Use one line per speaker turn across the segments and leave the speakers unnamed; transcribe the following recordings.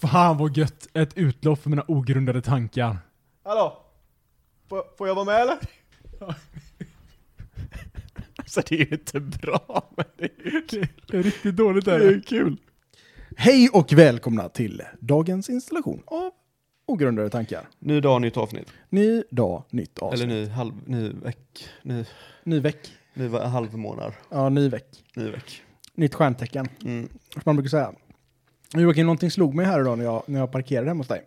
Fan vad gött! Ett utlopp för mina ogrundade tankar.
Hallå? Får, får jag vara med eller?
Alltså det är ju inte bra, men det är ju kul.
Det är riktigt dåligt
Det är ju kul.
Hej och välkomna till dagens installation av Ogrundade tankar.
Nu dag, nytt avsnitt.
Ny dag, nytt avsnitt.
Eller nu halv, nu veck, nu,
Ny veck.
nu var halv månad,
Ja, ny veck.
ny veck.
Nytt stjärntecken.
Mm.
Som man brukar säga. Joakim, någonting slog mig här idag när jag, när jag parkerade hemma hos dig.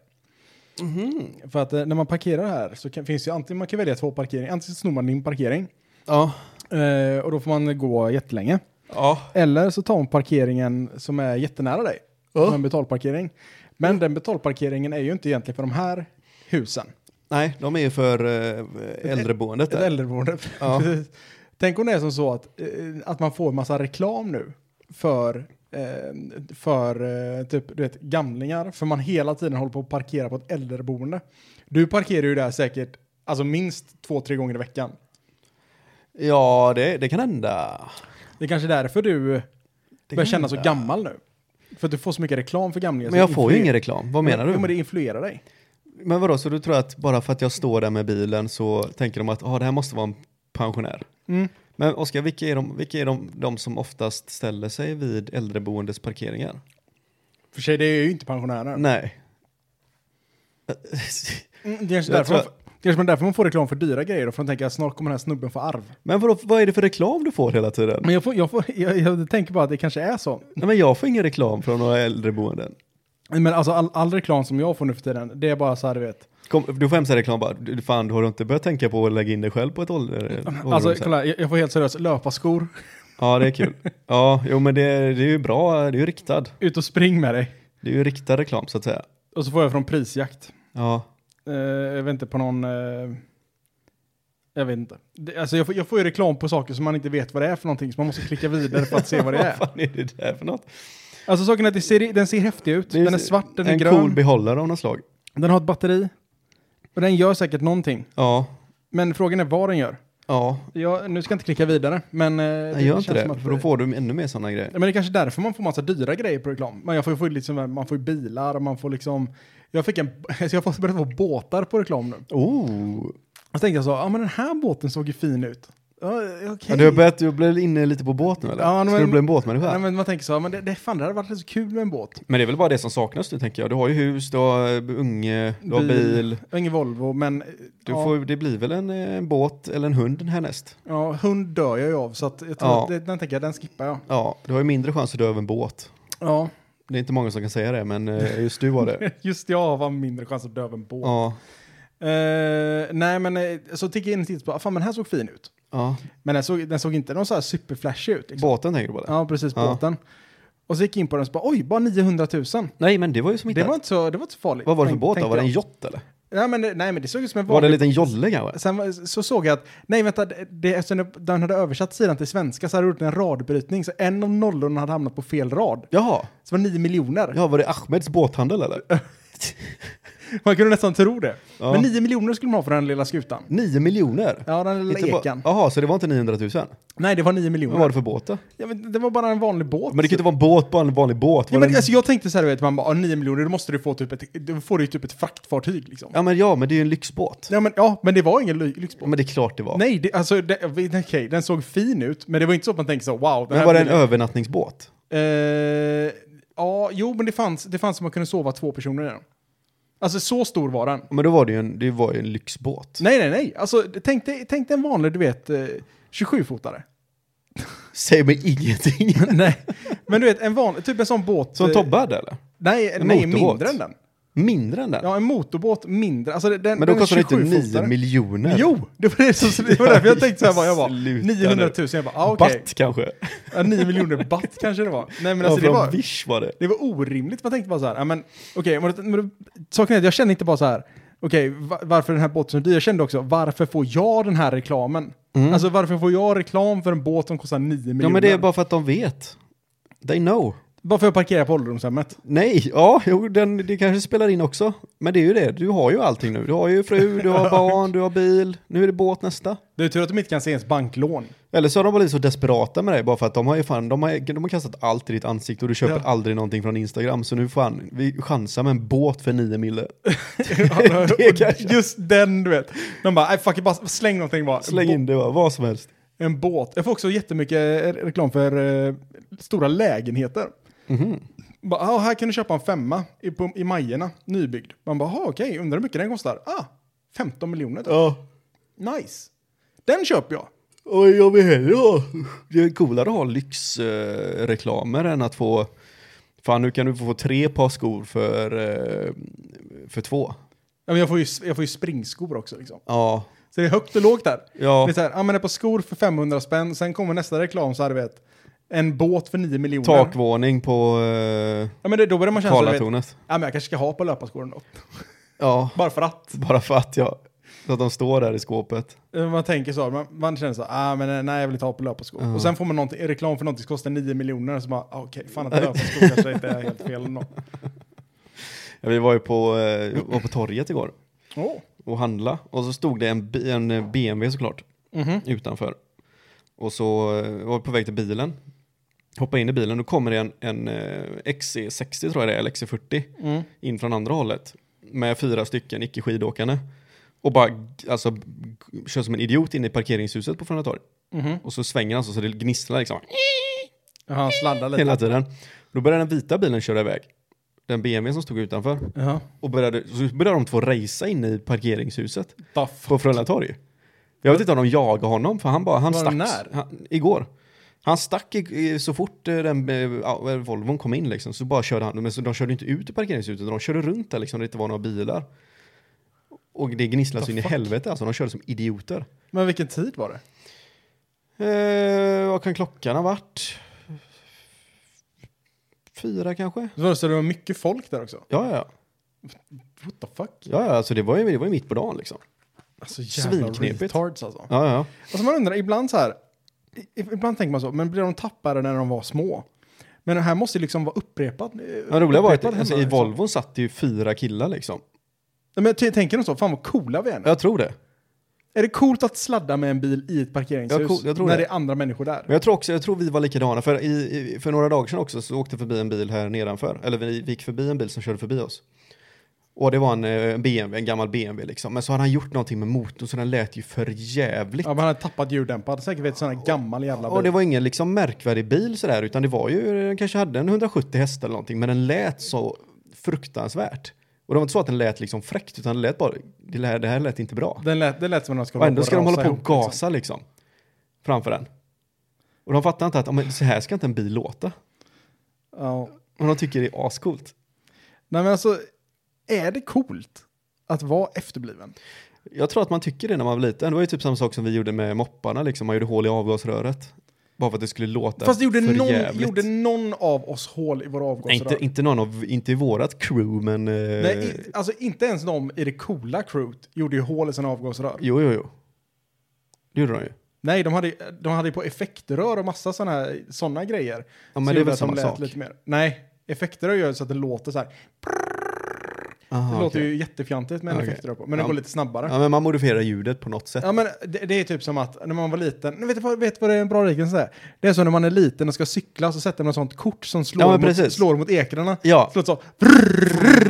För att eh, när man parkerar här så kan, finns ju antingen, man kan välja två parkeringar. Antingen snor man din parkering
Ja.
eh, och då får man gå jättelänge.
Ja.
Eller så tar man parkeringen som är jättenära dig. Som en betalparkering. Men den betalparkeringen är ju inte egentligen för de här husen.
Nej, de är ju för äh, äldreboendet
Ett
där.
äldreboende.
Ja.
Precis. Tänk om det är som så att, eh, att man får massa reklam nu för, eh, för eh, typ, du vet, gamlingar. För man hela tiden håller på att parkera på ett äldreboende. Du parkerar ju där säkert alltså minst två, tre gånger i veckan.
Ja, det, det kan hända.
Det är kanske därför du
Det
börjar
kan
känna så
hända.
gammal nu. För att du får så mycket reklam för gamlingar.
Men
så
jag får ju
influer-
ingen reklam, vad menar
Jo, men det
du?
influerar dig.
Men vadå, så du tror att bara för att jag står där med bilen så tänker de att ah, det här måste vara en pensionär?
Mm.
Men Oskar, vilka är, de, vilka är de, de som oftast ställer sig vid äldreboendes parkeringar?
För sig, det är ju inte pensionärer.
Nej.
Mm, det är kanske
Jag
därför,
tror-
man, får- det kanske är därför man får reklam för dyra grejer. Då, för de tänker att snart kommer den här snubben få arv.
Men vadå, vad är det för reklam du får hela tiden?
Men jag, får, jag, får, jag, jag tänker bara att det kanske är så.
Nej, men jag får ingen reklam från några äldreboenden.
Men alltså all, all reklam som jag får nu för tiden, det är bara så här du vet.
Kom, du får hemskt reklam bara, du, fan har du inte börjat tänka på att lägga in dig själv på ett ålder?
Alltså
ålderdomshem?
kolla, jag, jag får helt seriöst löparskor,
Ja, det är kul. Ja, jo men det, det är ju bra, det är ju riktad.
ut och spring med dig.
Det är ju riktad reklam så att säga.
Och så får jag från prisjakt.
Ja,
Eh, jag vet inte på någon... Eh, jag vet inte. Det, alltså jag får, jag får ju reklam på saker som man inte vet vad det är för någonting, så man måste klicka vidare för att se vad det
vad
är.
fan är det där för något?
Alltså saken är att det ser, den ser häftig ut,
Det ju
den är svart, den är
en
grön,
cool behållare av något slag.
den har ett batteri. Och den gör säkert någonting.
Ja,
Men frågan är vad den gör.
ja,
Jag, nu ska jag inte klicka vidare, men... eh, det
jag gör inte
känns som
det.
att-
För då får du ännu mer sådana grejer.
Ja, men det är kanske är därför man får massa dyra grejer på reklam. Men jag får ju få liksom, man får ju bilar, man får liksom... Jag fick en... Så jag har börjat få båtar på reklam nu.
Oh.
Och så tänkte jag så, ja men den här båten såg ju fin ut. Ja, okej.
Ja, du har börjat, du blev inne lite på båt nu eller?
Ja,
Ska
men-
du bli en båtmänniska?
Nej, men man tänker så, ja, men det, det, fan det hade varit så kul med en båt.
Men det är väl bara det som saknas nu tänker jag. Du har ju hus, du har eh, unge, du har bil.
Jag har ingen Volvo, men... eh,
Du
ja,
får, det blir väl en, eh, en båt eller en hund härnäst?
ja, hund dör jag ju av, så att jag tror
Ja.
att det, den tänker jag, den skippar jag.
Ja, du har ju mindre chans att dö av en båt.
Ja,
Det är inte många som kan säga det, men eh, just du har det.
just jag var mindre chans att dö av en båt.
Ja,
Eh, nej, men eh, så tickade jag in och tittade på, ah, fan men den här såg fin ut.
ja.
Men den såg, den såg inte någon så här superflashig ut. Liksom.
Båten tänker du på det?
Ja, precis.
Ja.
Båten. Och så gick jag in på den och så bara, oj, bara 900 000.
Nej, men det var ju som inte...
Det var, inte så, det var inte så farligt.
Vad var det för
tänk-
båt då?
tänkte
Var det en
jag.
yacht eller?
Nej men, det- nej, men det såg ut som en
Var det en
vanlig...
liten jolle kanske?
Sen var- så såg jag att, nej vänta, det- det, eftersom det- den hade översatt sidan till svenska så hade det gjort en radbrytning, så en av nollorna hade hamnat på fel rad.
Jaha,
Så det var 9 miljoner.
ja, var det Ahmeds båthandel eller?
Man kunde nästan tro det.
Ja.
Men 9 miljoner skulle man ha för den lilla skutan.
Nio miljoner?
Ja, den lilla
Inte bara-
ekan.
Jaha, så det var inte 900 000?
Nej, det var 9
Vad
miljoner.
var det för båt då?
ja, men det var bara en vanlig båt.
Men det kan ju inte vara en båt, bara en vanlig båt.
ja,
Var
men,
det en...
alltså, jag tänkte så här, du vet, man bara, ah, 9 miljoner, då måste du få typ ett, då får du ju typ ett fraktfartyg liksom.
ja, men ja, men det är ju en lyxbåt.
Ja, men, ja, men det var ingen ly- lyxbåt.
Ja, men det är klart det var.
Nej, det, alltså, det, okej, den såg fin ut, men det var inte så att man tänkte så, wow. Den
men var det en
bilen-
övernattningsbåt?
Eh, ja, jo, men det fanns, det fanns som man kunde sova två personer i den. Alltså så stor var den.
Ja, Men då var det ju en, det var ju en lyxbåt.
Nej, nej, nej. Alltså, tänk dig, tänk dig en vanlig, du vet, eh, 27-fotare.
Säg mig ingenting.
nej, men du vet, en vanlig, typ en sån båt.
Som
eh,
Tobbe hade eller?
Nej,
en
nej
motorbåt.
mindre än den.
Mindre än den?
Ja, en motorbåt mindre. Alltså, den,
men då
den är
kostar det inte 9
27-fotare.
miljoner.
Jo, det var, det, som, det var därför jag tänkte så här, bara, jag bara,
Sluta
900 000, jag bara, ah, okej.
Batt kanske?
Ja, 9 miljoner baht kanske det var. Nej, men
ja,
alltså det
från
var...
Wish var det.
Det var orimligt. Man tänkte bara så här, ja, men okej, men- men saken är att jag kände inte bara så här, okej, va- varför den här båten som dyr? Jag kände också, varför får jag den här reklamen?
Mm.
Alltså varför får jag reklam för en båt som kostar 9 miljoner?
Ja men det är bara för att de vet. They know.
Bara för att parkera på ålderdomshemmet.
Nej, ja, jo, den, det kanske spelar in också. Men det är ju det, du har ju allting nu. Du har ju fru, du har barn, du har bil, nu är det båt nästa.
Det är tur att de inte kan se ens banklån.
Eller så har de bara blivit så desperata med dig bara för att de har ju fan, de har, de har kastat allt i ditt ansikte och du köper
Ja.
aldrig någonting från Instagram. Så nu fan, vi chansar med en båt för nio mille.
Det
är kanske-
Just den du vet. De bara, nej fuck it, bara släng någonting bara.
Släng
Bo-
in det bara, vad som helst.
En båt. Jag får också jättemycket eh, reklam för eh, stora lägenheter.
Mhm.
Bara, ah, här kan du köpa en femma i, på, i Majerna, nybyggd. Man bara, ah, okej, undrar hur mycket den kostar? Ah, 15 miljoner. typ.
Ja.
Nice. Den köper jag.
Oj, jag vill hellre ha. Det är coolare att ha lyxreklamer än att få, fan nu kan du få tre par skor för, eh, för två.
Ja, men jag, får ju, jag får ju springskor också liksom.
Ja,
Så det är högt och lågt där.
ja.
Det är så här, ah, men ett par skor för 500 spänn, sen kommer nästa reklam så här, du vet, en båt för 9 miljoner.
takvåning på eh,
Ja, men det, då börjar man känna så här, du vet,
Karlatornet.
ja, men jag kanske ska ha på löparskor ändå.
Ja,
Bara för att.
bara för att jag, så att de står där i skåpet.
Eh, Man tänker så, man, man känner så, ah, men eh, nej jag vill inte ha på löparskor.
Ja.
Och sen får man någonting, reklam för någonting som kostar 9 miljoner, så bara, ah, okej, fan att löparskor kanske inte är helt fel ändå.
Ja, vi var ju på, eh, var på torget igår
Oh.
och handla och så stod det en, bi- en BMW såklart
Mhm,
utanför. Och så eh, var vi på väg till bilen. Hoppar in i bilen, då kommer det en, en eh, XC60 tror jag det är, eller XC40,
Mm.
in från andra hållet. Med fyra stycken icke-skidåkande. Och bara, g- alltså, g- kör som en idiot in i parkeringshuset på Frölunda torg.
Mhm.
Och så svänger han så, så det gnisslar liksom.
Jaha, han sladdar lite.
Hela tiden. Då började den vita bilen köra iväg. Den BMW som stod utanför.
Jaha.
Och började, så började de två racea in i parkeringshuset
Da fuck.
på Frölunda torg. Jag vet inte om de jagade honom, för han bara, han
Var
stack.
han när?
Han, igår. Han stack i, i, så fort eh, den eh, ja, Volvon kom in liksom, så bara körde han, men så de körde inte ut i parkeringshuset, utan de körde runt där liksom, där det inte var några bilar. Och det
The
gnisslade så in i
fuck?
helvete alltså, de körde som idioter.
Men vilken tid var det?
Eh, vad kan klockan ha varit? Fyra kanske?
Så var det, så det var mycket folk där också?
Ja, ja,
What the fuck?
ja, ja alltså det var ju, det var ju mitt på dagen liksom.
Alltså jävla
Svinknepigt.
retards alltså.
Ja, ja.
Alltså man undrar, ibland så här, i- ibland tänker man så, men blir de tappade när de var små? Men det här måste ju liksom vara upprepat. eh,
Ja, det roliga var att
upprepat
alltså,
hemma,
i
liksom.
Volvon satt det ju fyra killar liksom.
Nej, Men t- tänker de så, fan vad coola vi är nu.
Jag tror det.
Är det coolt att sladda med en bil i ett parkeringshus
Ja, cool, jag tror
när
det.
det är andra människor där?
Men jag tror också, jag tror vi var likadana, för, i, i, för några dagar sedan också så åkte förbi en bil här nedanför, eller vi, vi gick förbi en bil som körde förbi oss. Och det var en, eh, en BMW, en gammal BMW liksom, men så hade han gjort någonting med motorn så den lät ju för jävligt.
Ja, men han hade tappat ljuddämparen. Säkert vet sån här gammal jävla bil.
Och det var ingen liksom märkvärdig bil sådär, utan det var ju, den kanske hade en 170 hästar eller någonting, men den lät så fruktansvärt. Och det var inte så att den lät liksom fräckt, utan det lät bara, det här, det här lät inte bra.
Den lät, det lät som att de skulle
Och ändå ska de hålla
rasa
på och
ihop,
gasa liksom. Framför den. Och de fattar inte att ja, men så här ska inte en bil låta.
Liksom. Ja.
Och de tycker det är ascoolt.
Nej men alltså, är det coolt att vara efterbliven?
Jag tror att man tycker det när man var liten. Det var ju typ samma sak som vi gjorde med mopparna liksom. Man gjorde hål i avgasröret. Bara för att det skulle låta
Fast det gjorde
för
någon,
jävligt.
gjorde någon av oss hål i våra
Nej,
avgasrör?
inte, inte någon av, inte i vårat crew men... eh,
Nej, i, alltså inte ens de i det coola crewet gjorde ju hål i sina avgasrör.
Jo, jo, jo. Det gjorde de ju.
Nej, de hade, ju- de hade ju på effektrör och massa sådana här, såna grejer.
Ja,
Så
men det är
gjorde
väl
att de
samma
lät
sak.
Lite mer. Nej, effektrör gör så att det låter så här.
Aha,
Det låter
Ah, okej. Ah,
ju jättefjantigt med en
Okej.
effektrör på, men
Ja.
det går lite snabbare.
Ja, men man modifierar ljudet på något sätt.
Ja, men det, det är typ som att när man var liten, Nej, vet du vad, vet du vad det är en bra liknelse är? Det är så när man är liten och ska cykla så sätter man ett sånt kort som slår,
Ja, men
mot,
precis.
slår mot ekrarna.
Ja,
Så låter det så,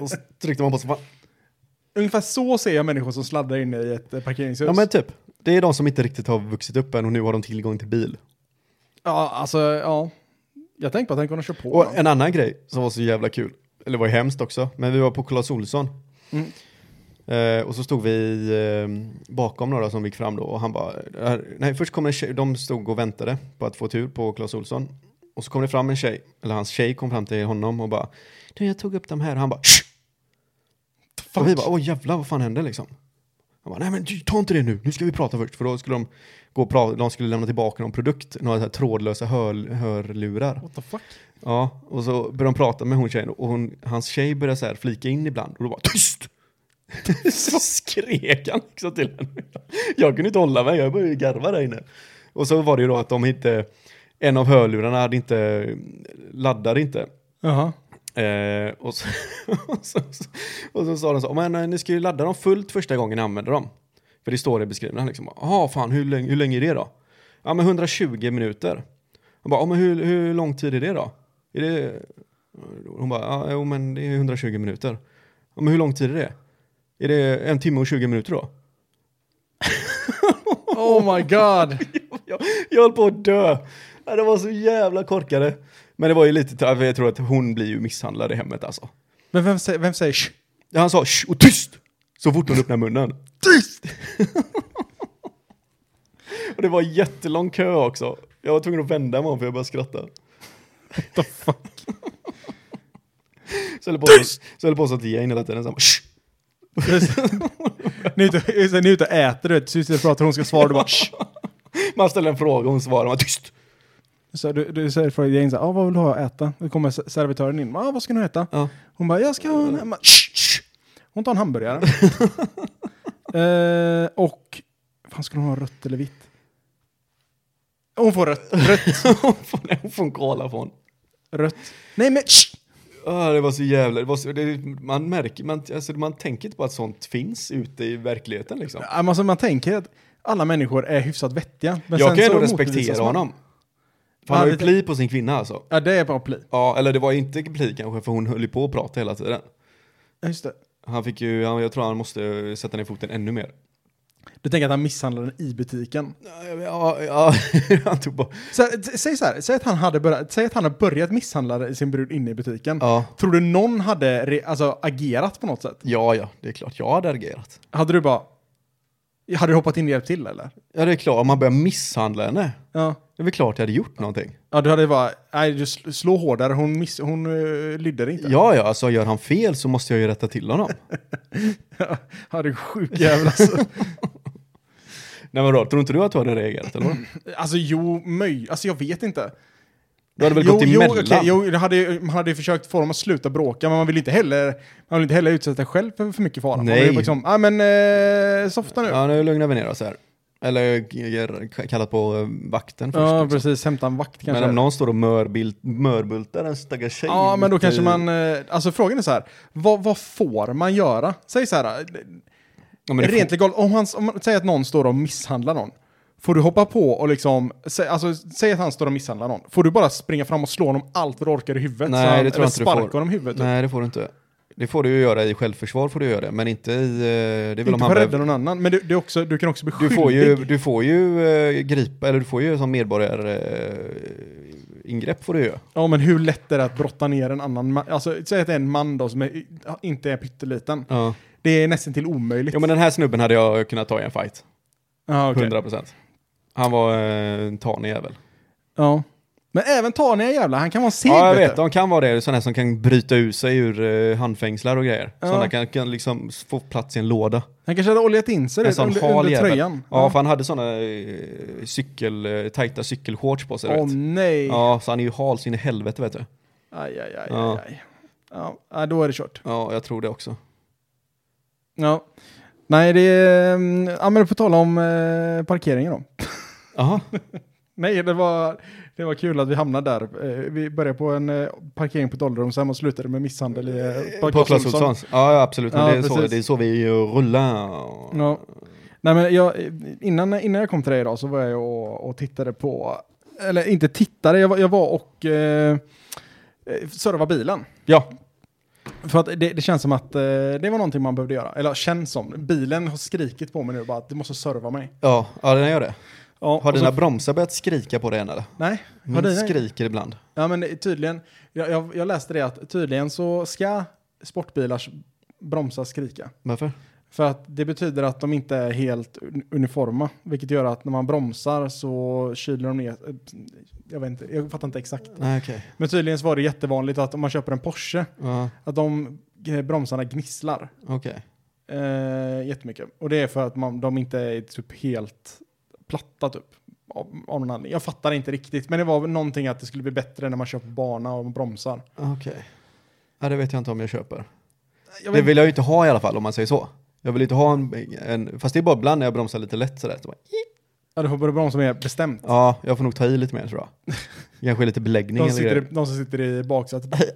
och så tryckte man på så fan.
ungefär så ser jag människor som sladdar inne i ett eh, parkeringshus.
Ja, men typ. Det är de som inte riktigt har vuxit upp än och nu har de tillgång till bil.
Ja, alltså, ja. Jag tänkte på att tänk om de kör på.
Och
dem.
en annan grej som var så jävla kul, eller var ju hemskt också, men vi var på Clas Ohlson.
Mm.
Eh, och så stod vi eh, bakom några som gick fram då och han bara, eh, nej först kom en tjej, de stod och väntade på att få tur på Clas Ohlson. Och så kom det fram en tjej, eller hans tjej kom fram till honom och bara, du jag tog upp de här och han bara, "Shh!"
Fuck.
Och vi bara, åh jävlar vad fan hände liksom? Han bara, nej men du, ta inte det nu, nu ska vi prata först. För då skulle de gå och prata, de skulle lämna tillbaka någon produkt, några så här trådlösa hör, hörlurar.
What the fuck?
Ja, och så började de prata med hon tjejen och hon, hans tjej började så här flika in ibland och då bara tyst! så skrek han liksom till henne. Jag kunde inte hålla mig, jag började garva där inne. Och så var det ju då att de inte, en av hörlurarna hade inte, laddade inte.
Jaha.
Eh, och, så, och, så, och så sa de så, "Ja, men eh, ni ska ju ladda dem fullt första gången ni använder dem. För det står det i beskrivningen liksom. Jaha, fan hur länge, hur länge är det då? Ja men 120 minuter. Hon bara, "Ja, men hur, hur lång tid är det då? Är det... Hon bara, ja jo, men det är 120 minuter. Ja, men hur lång tid är det? Är det en timme och 20 minuter då?
Oh my god.
jag, jag höll på att dö. Ja, Det var så jävla korkade. Men det var ju lite, jag tror att hon blir ju misshandlad i hemmet alltså.
Men vem, sä- vem säger shh?
Han sa Shh, och tyst! Så fort hon öppnade munnen. Tyst! och det var jättelång kö också. Jag var tvungen att vända mig om för jag började skratta. What the fuck? så höll jag på så, så höll jag på så att Jane hela tiden sa Shh!
ni, är ute, just det, ni är ute och äter, du vet. Syster pratar, hon ska svara, du bara shh.
Man ställer en fråga och hon svarar man tyst.
Så du, du säger från Jane så här, ah, vad vill du ha att äta? Då kommer se- servitören in, ah, vad ska ni äta?
Ja.
Hon bara, jag ska ha en... Man, shh, shh. Hon tar en hamburgare. eh, och, fan skulle hon ha rött eller vitt? Hon får rött. Rött.
Hon får- hon får en kola från.
rött. Nej men shh.
Ah, det var så jävla, det var så, det, man märker, man, alltså, man tänker inte på att sånt finns ute i verkligheten liksom.
Ja, men Alltså, man tänker att alla människor är hyfsat vettiga. Men
jag
sen
kan ju
så
ändå
motbevisas
respektera
man.
honom. För
liksom- Ja,
han har ju
lite-
pli på sin kvinna alltså.
Ja, det är bara pli.
Ja, eller det var inte pli kanske, för hon höll ju på att prata hela tiden.
Ja, Just det.
Han fick ju, han, jag tror han måste sätta ner foten ännu mer.
Du tänker att han misshandlade den i butiken.
Ja, ja, han tog bara,
Så, här, t- säg så här, säg att han, hade börjat, säg att han har börjat misshandla sin brud inne i butiken.
ja,
Tror du någon hade re, alltså, agerat på något sätt?
ja, ja, det är klart, jag hade agerat.
Hade du bara... Hade du hoppat in och hjälpt till eller?
Ja, det är klart, om man börjar misshandla henne,
Ja.
det är väl klart jag hade gjort någonting.
Ja, du hade bara... Nej, du sl- slå hårdare. Hon, miss, hon uh, lydde inte.
Ja, ja, alltså gör han fel så måste jag ju rätta till honom.
Ja, du är sjuk jävel alltså.
Nej men då, tror inte du att du hade reagerat eller? vad?
alltså jo, möj... Alltså jag vet inte.
Du hade väl
jo,
gått
jo,
emellan?
okej, jo, det hade, ju- man hade ju försökt få dem att sluta bråka, men man vill inte heller, man vill inte heller utsätta själv för, för mycket fara. Man
Nej.
vill ju liksom, ah, men eh, softa nu.
Ja, nu lugnar vi ner oss här. Eller k- k- kallat på eh, vakten först.
Ja,
liksom.
precis. Hämta en vakt kanske.
men om någon står och mörbil- mörbultar en stackars tjej.
ja, men då
mitt i-
kanske man... eh, Alltså frågan är så här, vad, vad får man göra? Säg så här, eh,
Ja, men det
rent legalt, om, han, om man säger att någon står och misshandlar någon, får du hoppa på och liksom, sä, alltså, säg att han står och misshandlar någon, får du bara springa fram och slå honom allt vad du orkar i huvudet?
Nej,
så han,
det tror jag
eller
inte du
sparka
får.
honom i huvudet?
Nej, det får du inte. Det får du ju göra i självförsvar, får du göra det, men inte i... eh, Det är väl om
Inte
han
för att
behöver-
rädda någon annan, men du, du, är också, du kan också bli
Du
skyldig.
får ju, du får ju eh, gripa, eller du får ju som medborgare eh, ingrepp får du ju.
Ja, men hur lätt är det att brotta ner en annan man? Alltså, säg att det är en man då som är, inte är pytteliten.
Ja.
Det är nästan till omöjligt.
Jo men den här snubben hade jag kunnat ta i en fight,
Ja, okej.
100%. Han var eh, en tanig jävel.
Ja. Men även Tania jävlar, han kan vara seg.
Ja, jag vet.
Typ, du.
De kan vara det. Sådana här som kan bryta ur sig ur eh, handfängslar och grejer.
Ja.
Sådana kan, kan liksom s- få plats i en låda.
Han kanske hade oljat in sig
En
det
sån
under,
hal
under
jävel.
tröjan.
Ja, för han hade sådana eh, cykel, eh, tajta cykelshorts på sig. du
Åh
vet.
nej.
Ja, så han är ju hal så in i helvete vet du.
Aj, aj, aj,
Ja.
aj, aj. Ja, ja, då är det kört.
Ja, jag tror det också.
Ja. Nej, det är... mm, Ja, men på tal om eh, parkeringen då.
Jaha,
Nej, det var, det var kul att vi hamnade där. Eh, vi började på en eh, parkering på ett ålderdomshem och slutade med misshandel i, eh, på
på
Clas
Clas
Ohlson.
Ohlsons. Ja, ja, absolut. Men
Ja,
det, är så,
precis.
det är så vi ju rullar.
Ja. Nej, men jag, innan, innan jag kom till dig idag så var jag ju och, och tittade på, eller inte tittade, jag var, jag var och eh, eh, servade bilen.
Ja.
För att det, det känns som att eh, det var någonting man behövde göra. Eller känns som. Bilen har skrikit på mig nu bara att du måste serva mig.
Ja, ja, den gör det.
Ja,
Har
och
dina
Så,
bromsar börjat skrika på dig än eller?
nej, har
Min
dina-
skriker ibland.
Ja, men det- tydligen. Jag, jag, jag läste det att tydligen så ska sportbilars bromsar skrika.
Varför?
För att det betyder att de inte är helt un- uniforma, vilket gör att när man bromsar så kyler de ner. eh, Jag vet inte, jag fattar inte exakt.
Nej, okej.
Men tydligen så var det jättevanligt att om man köper en Porsche,
Ja,
att de eh, bromsarna gnisslar
okej.
eh, jättemycket. Och det är för att man, de inte är typ helt platta typ. Av, av någon anledning. Jag fattar inte riktigt, men det var väl någonting att det skulle bli bättre när man köper bana och bromsar.
Okej. Ja, det vet jag inte om jag köper.
Jag
Det
vet,
vill jag ju inte ha i alla fall om man säger så. Jag vill inte ha en, en fast det är bara ibland när jag bromsar lite lätt sådär. Så bara,
Ja, du får börja med de som är bestämt.
Ja, jag får nog ta i lite mer tror jag. Kanske lite beläggning
De,
eller
sitter, i-
grejer.
de som sitter i baksätet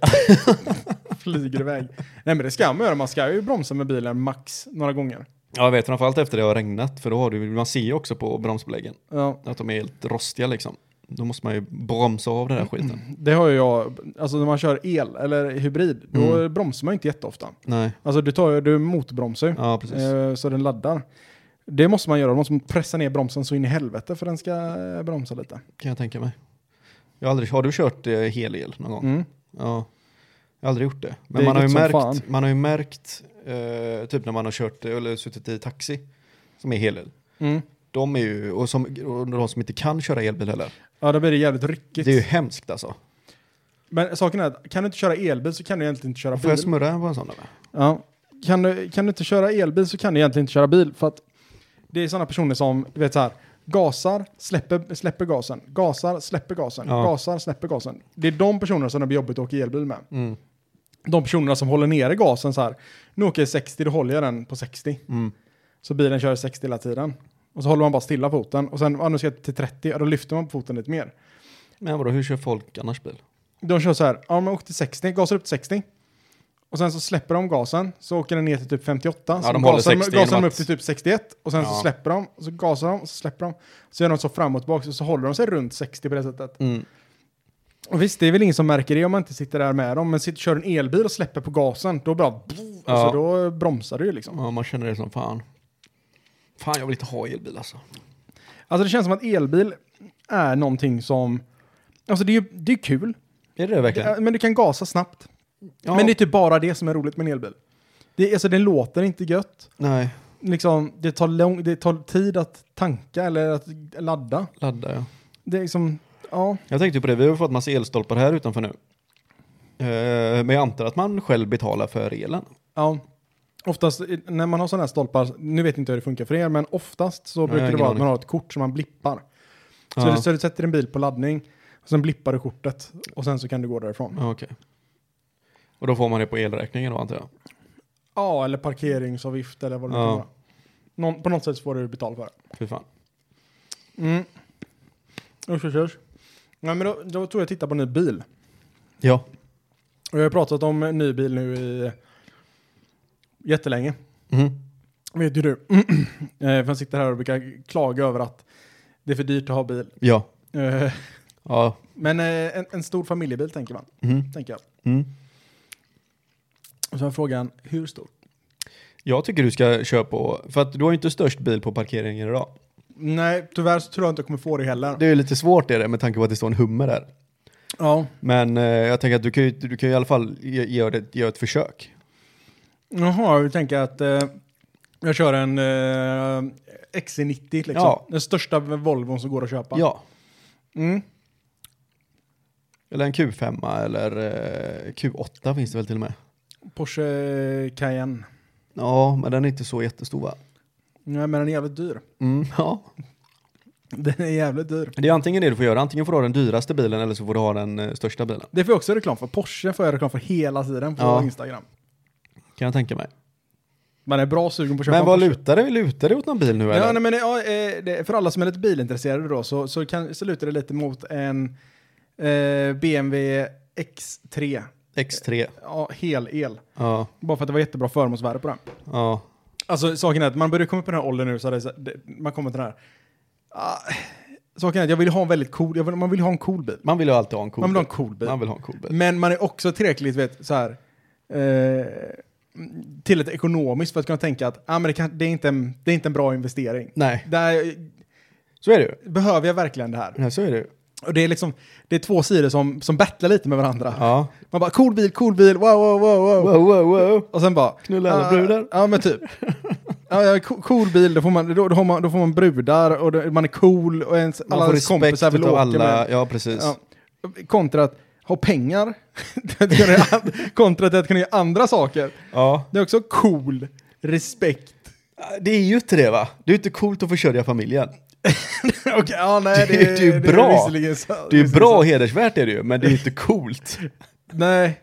flyger iväg. Nej men det ska man göra, man ska ju bromsa med bilen max några gånger.
Ja, jag vet framförallt efter det har regnat för då har du, man ser ju också på bromsbeläggen
Ja,
att de är helt rostiga liksom. Då måste man ju bromsa av den där skiten.
det har ju jag, alltså när man kör el eller hybrid, då
Mm.
bromsar man ju inte jätteofta.
Nej,
Alltså du, tar, ju- du motbromsar ju,
ja precis.
eh, så den laddar. Det måste man göra, man måste pressa ner bromsen så in i helvete för den ska eh, bromsa lite.
Kan jag tänka mig. Jag har, aldrig, har du kört eh, helel någon gång?
Mm.
Ja. Jag har aldrig gjort det. Men
Det är
man, har ju
gött som fan.
märkt, man har ju märkt, eh, typ när man har kört eh, eller suttit i taxi, som är helel.
Mm.
De är ju, och, som, och de som inte kan köra elbil heller.
Ja, då blir det jävligt ryckigt.
Det är ju hemskt alltså.
Men saken är att kan du inte köra elbil så kan du egentligen inte köra
Får jag
bil.
smurra på en sån där?
Ja. Kan, du, kan du inte köra elbil så kan du egentligen inte köra bil. För att det är sådana personer som, du vet så här, gasar, släpper, släpper gasen, gasar, släpper gasen,
Ja.
gasar, släpper gasen. Det är de personerna som det blir jobbigt att åka elbil med.
Mm.
De personerna som håller nere gasen så här, nu åker jag 60, då håller jag den på 60.
Mm.
Så bilen kör 60 hela tiden. Och så håller man bara stilla foten och sen, ja, nu ska jag till 30, ja, då lyfter man på foten lite mer.
Men vadå, hur kör folk annars bil?
De kör så här, ja men åker till 60, gasar upp till 60. Och sen så släpper de gasen, så åker den ner till typ 58.
Ja,
så
de håller
gasar,
60
gasar
genom
de
att-
upp till typ 61 och sen
Ja.
så släpper de, och så gasar de, och så släpper de. Så gör de så fram och tillbaka, och så håller de sig runt 60 på det sättet.
Mm.
Och visst, det är väl ingen som märker det om man inte sitter där med dem, men sitter, kör en elbil och släpper på gasen, då bara...
Ja.
Alltså då bromsar du ju liksom.
Ja, man känner det som fan. Fan, jag vill inte ha elbil alltså.
Alltså det känns som att elbil är någonting som... Alltså det är ju det är kul, Eh,
Är det det verkligen?
men du kan gasa snabbt.
ja,
Men det är typ bara det som är roligt med en elbil. Det, är- alltså, den låter inte gött.
Nej,
Liksom, det, tar lång, det tar tid att tanka eller att ladda.
ladda ja.
Det är liksom, ja.
Jag tänkte på det, vi har ju fått massa elstolpar här utanför nu. Eh, Men jag antar att man själv betalar för elen.
ja. Oftast i- när man har sådana här stolpar, nu vet jag inte hur det funkar för er, men oftast så
Nej,
brukar det
ingen
vara att
aning.
man har ett kort som man blippar. Så,
Ja.
du, så du sätter en bil på laddning, och sen blippar du kortet och sen så kan du gå därifrån.
Ja, okej. Och då får man det på elräkningen då antar jag.
Ja, eller parkeringsavgift eller vad det nu
Ja.
kan vara. Någon, på något sätt så får du betala för det.
Fy fan.
Mm. Usch, usch, usch. Nej, men då, då tror jag titta på en ny bil.
Ja.
Och jag har pratat om en ny bil nu i jättelänge.
Mm.
Vet ju du. Eh, För jag sitter här och brukar klaga över att det är för dyrt att ha bil.
Ja.
Eh,
Ja.
Men eh, en, en stor familjebil tänker man.
Mm.
Tänker jag.
Mm.
Och så är frågan, hur stor?
Jag tycker du ska köra på, för att du har ju inte störst bil på parkeringen idag.
Nej, tyvärr så tror jag inte jag kommer få det heller.
Det är ju lite svårt är det med tanke på att det står en hummer där.
Ja.
Men eh, jag tänker att du kan ju, du kan ju i alla fall ge- göra det- göra ett försök.
Jaha, jag tänker att eh, jag kör en eh, XC90 liksom.
Ja.
Den största Volvon som går att köpa.
Ja.
Mm.
Eller en Q5 eller eh, Q8 finns det väl till och med.
Porsche Cayenne.
Ja, men den är inte så jättestor va?
Nej, men den är jävligt dyr.
Mm, ja.
Den är jävligt dyr.
Det är antingen det du får göra, antingen får du ha den dyraste bilen eller så får du ha den eh, största bilen.
Det får jag också reklam för. Porsche får jag reklam för hela tiden på
Ja.
Instagram.
Kan jag tänka mig.
Man är bra sugen på att köpa
Men
en
vad
Porsche.
lutar det, lutar det åt någon bil nu eller?
Ja, nej, men, ja, eh, det, för alla som är lite bilintresserade då så, så, kan, så lutar det lite mot en eh, BMW X3.
X3.
Ja, hel-el.
Ja,
Bara för att det var jättebra förmånsvärde på den.
ja.
Alltså saken är att man börjar komma upp i den här åldern nu så, är det, så det, man kommer till den här. Ah, saken är att jag vill ha en väldigt cool, jag vill, man vill ha en cool bil.
Man vill ju alltid ha en cool
Man vill ha en
bil.
cool bil.
Man vill ha en cool bil.
Men man är också tillräckligt vet, så här, eh, tillräckligt ekonomiskt för att kunna tänka att ah, men det, kan, det, är inte en, det är inte en bra investering.
Nej,
Där,
så är det ju.
behöver jag verkligen det här?
Nej, så är det ju.
Och det är, liksom, det är två sidor som, som battlar lite med varandra.
Ja.
Man bara cool bil, cool bil, wow, wow, wow, wow.
Wow, wow, wow.
Och sen bara...
Knulla alla
ah,
brudar.
Ja, men typ. Ja, ja, co- cool bil, då får man, då, då har man, då får man brudar och då, man är cool och ens,
Man
alla
får
ens kompisar
respekt
vill
utav
åka
alla.
med.
Ja, precis.
Ja. Kontra att ha pengar, Det kan jag göra- kontra till att kunna göra andra saker.
ja.
Det är också cool, respekt.
Det är ju inte det va? Det är ju inte coolt att försörja familjen.
Okej, ja, nej,
Det är ju- det är ju bra.
visserligen sant.
Det är ju bra och hedersvärt är det ju, men det är ju inte coolt.
Nej,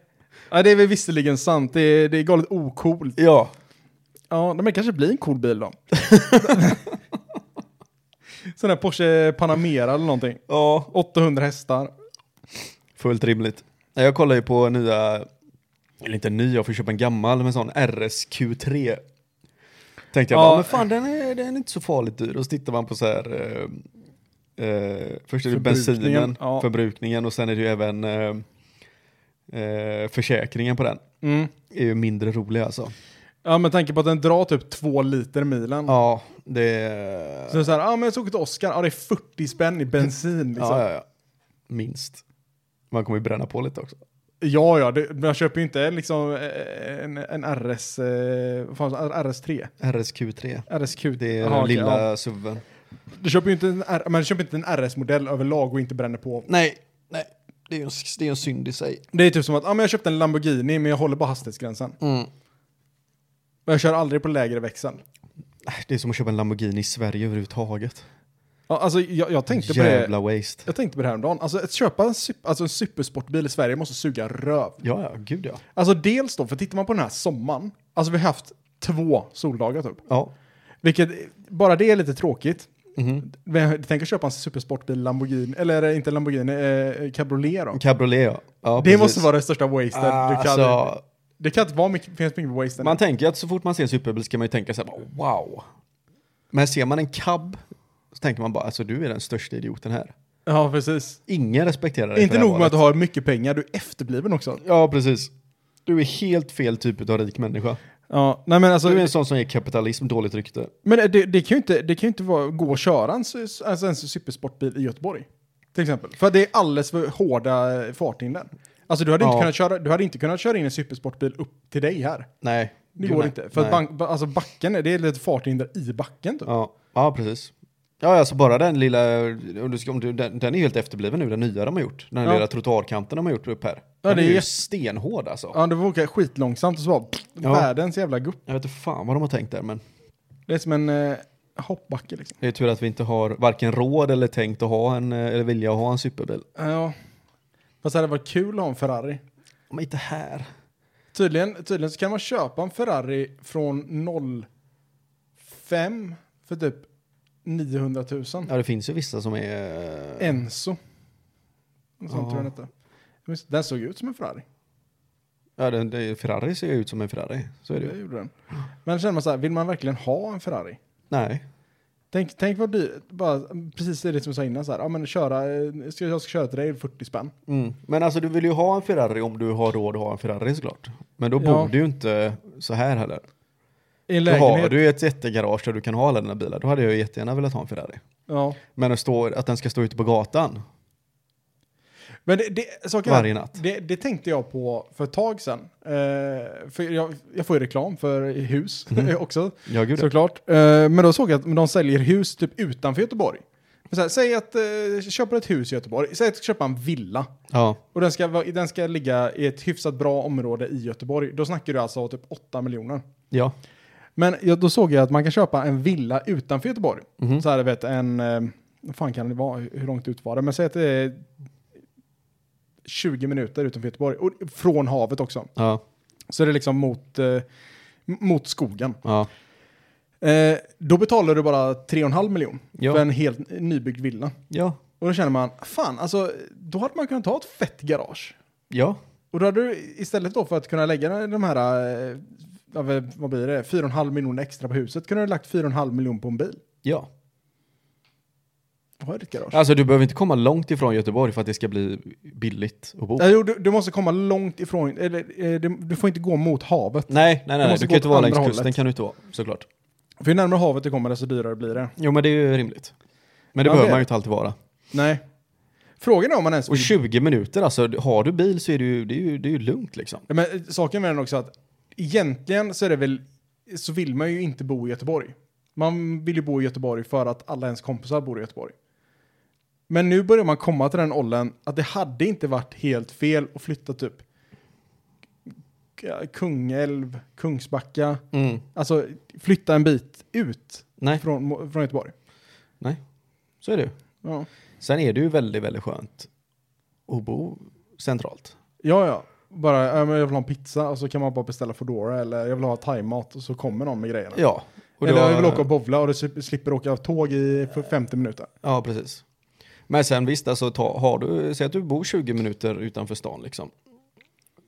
ja, det är väl visserligen sant. Det är, det är galet ocoolt.
Ja.
Ja, men det kanske blir en cool bil då. Sån där Porsche Panamera eller någonting.
Ja,
800 hästar.
fullt rimligt. Nej, Jag kollar ju på nya, eller inte ny, jag får köpa en gammal, men sån RSQ3. Tänkte jag
Ja.
bara, men fan den är, den är inte så farligt dyr. Och så tittar man på så här, eh, eh, först är det
Förbrukningen,
bensinen,
ja.
förbrukningen och sen är det ju även eh, eh, försäkringen på den.
Mm.
är ju mindre rolig alltså.
Ja, med tanke på att den drar typ två liter milen.
Ja, det
Så det är så här, ja ah, men jag såg till Oscar, ja ah, det är 40 spänn i bensin liksom.
ja,
ja,
ja, ja. Minst. Man kommer ju bränna på lite också.
ja, det, men jag köper ju inte liksom eh, en, en RS, eh, vad fan, RS3.
RSQ3.
RSQ.
Det är
Jaha,
den
okej,
lilla
ja.
suven.
Du köper ju inte en, R, men du köper inte en RS-modell överlag och inte bränner på.
Nej, nej. Det är ju en, det är en synd i sig.
Det är typ som att, ja ah, men jag köpte en Lamborghini men jag håller bara hastighetsgränsen.
Mm.
Men jag kör aldrig på lägre växel.
Nej, Äh, Det är som att köpa en Lamborghini i Sverige överhuvudtaget.
Ja, alltså jag, jag tänkte på det.
Jävla waste.
Jag tänkte på det här om dagen. Alltså att köpa en, sup- alltså en supersportbil i Sverige måste suga röv.
Ja, ja, gud ja.
Alltså dels då, för tittar man på den här sommaren, alltså vi har haft två soldagar typ.
Ja.
Vilket, bara det är lite tråkigt.
Mhm.
Men Jag tänker köpa en supersportbil Lamborghini, eller inte Lamborghini, eh, cabriolet då.
En Cabriolet ja. ja
det
Mm, precis.
måste vara det största wasted du kan.
Alltså,
Det kan inte vara mycket, finns mycket wasted.
man tänker ju att så fort man ser en superbil ska man ju tänka så här, bara, wow. Men ser man en cab så tänker man bara, alltså du är den största idioten här.
ja, precis.
Ingen respekterar dig
Inte
för det här
nog med att du
valet.
har mycket pengar, du är efterbliven också.
Ja, precis. Du är helt fel typ av rik människa.
Ja, nej men alltså,
Du är en sån som ger kapitalism dåligt rykte.
men det, det kan ju inte, det kan ju inte vara, gå och köra en, su- alltså en supersportbil i Göteborg. Till exempel. För det är alldeles för hårda eh, farthinder. Alltså du hade, inte
Ja.
kunnat köra, du hade inte kunnat köra in en supersportbil upp till dig här.
Nej.
Det
Gud,
går
nej.
inte. För att
Nej.
bank, ba- alltså backen, är- det är lite farthinder i backen typ.
Ja. ja, precis. Ja, alltså bara den lilla, om du ska, om du, den, den är helt efterbliven nu, den nya de har gjort. Den här
Ja.
lilla trottoarkanten de har gjort upp här.
Ja,
den
det
är
är
ju
jätte-
stenhård alltså.
Ja, det var åka skitlångsamt och så bara,
Ja.
världens jävla gupp.
Jag vet inte fan vad de har tänkt där, men
Det är som en eh, hoppbacke liksom.
det är tur att vi inte har varken råd eller tänkt att ha en, eh, eller vilja att ha en superbil.
Ja. Fast det hade varit kul att ha en Ferrari.
Men inte här.
Tydligen, tydligen så kan man köpa en Ferrari från 05 för typ 900 000.
Ja, det finns ju vissa som är...
Enzo. Något sånt tror
Ja.
jag den hette. Jag minns- Den såg ut som en Ferrari.
Ja, den, det, Ferrari ser ju ut som en Ferrari. Så är det
Det
ju.
gjorde den. Men känner man så här, vill man verkligen ha en Ferrari?
Nej.
Tänk, tänk vad dyrt, bara precis det som jag sa innan så här, ja men köra, eh, ska, jag ska köra till dig 40 spänn.
Mm. Men alltså du vill ju ha en Ferrari om du har råd att ha en Ferrari såklart. Men då
Ja.
bor du ju inte så här heller.
I en
Då har
lägenhet.
du ju ett jättegarage där du kan ha alla dina bilar. Då hade jag ju jättegärna velat ha en Ferrari.
Ja.
Men att, stå, att den ska stå ute på gatan
Men det, det, saken är-
varje natt.
Det, det tänkte jag på för ett tag sedan. Eh, för jag, jag får ju reklam för hus
Mhm.
också,
Ja, gud. ja.
såklart. Eh, men då såg jag att de säljer hus typ utanför Göteborg. Men så här, säg att eh, köper ett hus i Göteborg, säg att du köper en villa.
Ja,
Och den ska, vara- den ska ligga i ett hyfsat bra område i Göteborg. Då snackar du alltså typ 8 miljoner.
ja.
Men jag, då såg jag att man kan köpa en villa utanför Göteborg.
Mhm.
Så här, vet, en... eh, Vad fan kan det vara? Hur långt ut var det? Men säg att det är 20 minuter utanför Göteborg. Och från havet också.
ja,
Så är det liksom mot, eh, m- mot skogen.
ja.
Eh, då betalar du bara 3,5 miljon
Ja.
för en helt nybyggd villa.
ja.
Och då känner man, fan, alltså, då hade man kunnat ta ett fett garage.
ja.
Och då hade du istället då för att kunna lägga de här, eh, ja, vad vad blir det, 4,5 miljoner extra på huset, kunde du lagt 4,5 miljon på en bil.
ja.
Då har jag ditt garage.
Alltså du behöver inte komma långt ifrån Göteborg för att det ska bli billigt att bo.
Ja, jo, du, du måste komma långt ifrån, eller eh, du, du får inte gå mot havet.
Nej, nej, nej.
Du
nej.
måste
Du
gå
kan ju inte
åt
vara
andra
längs
hållet.
kusten kan du inte vara, såklart.
För ju närmare havet du kommer desto dyrare blir det.
Jo, men det är ju rimligt. Men det
Ja,
behöver
det är
man ju
det.
inte alltid vara.
Nej. Frågan är om man ens
Och
vill
20 minuter alltså, har du bil så är det ju, det är ju, det är ju lugnt liksom.
Ja, Men eh, saken med den också att egentligen så är det väl så vill man ju inte bo i Göteborg. Man vill ju bo i Göteborg för att alla ens kompisar bor i Göteborg. Men nu börjar man komma till den åldern att det hade inte varit helt fel att flytta typ K- Kungälv, Kungsbacka, alltså flytta en bit ut
Nej,
från, mo- från Göteborg.
så är det ju.
Ja,
Sen är det ju väldigt, väldigt skönt att bo centralt.
ja. ja. Bara, ja, men jag vill ha en pizza och så kan man bara beställa Foodora eller jag vill ha thaimat och så kommer någon med grejerna.
Ja, och Och
Eller
då-
jag vill åka och bowla och du slip- slipper åka tåg i f- 50 minuter.
Ja, precis. Men sen visst, alltså, ta, har du, säg att du bor 20 minuter utanför stan liksom.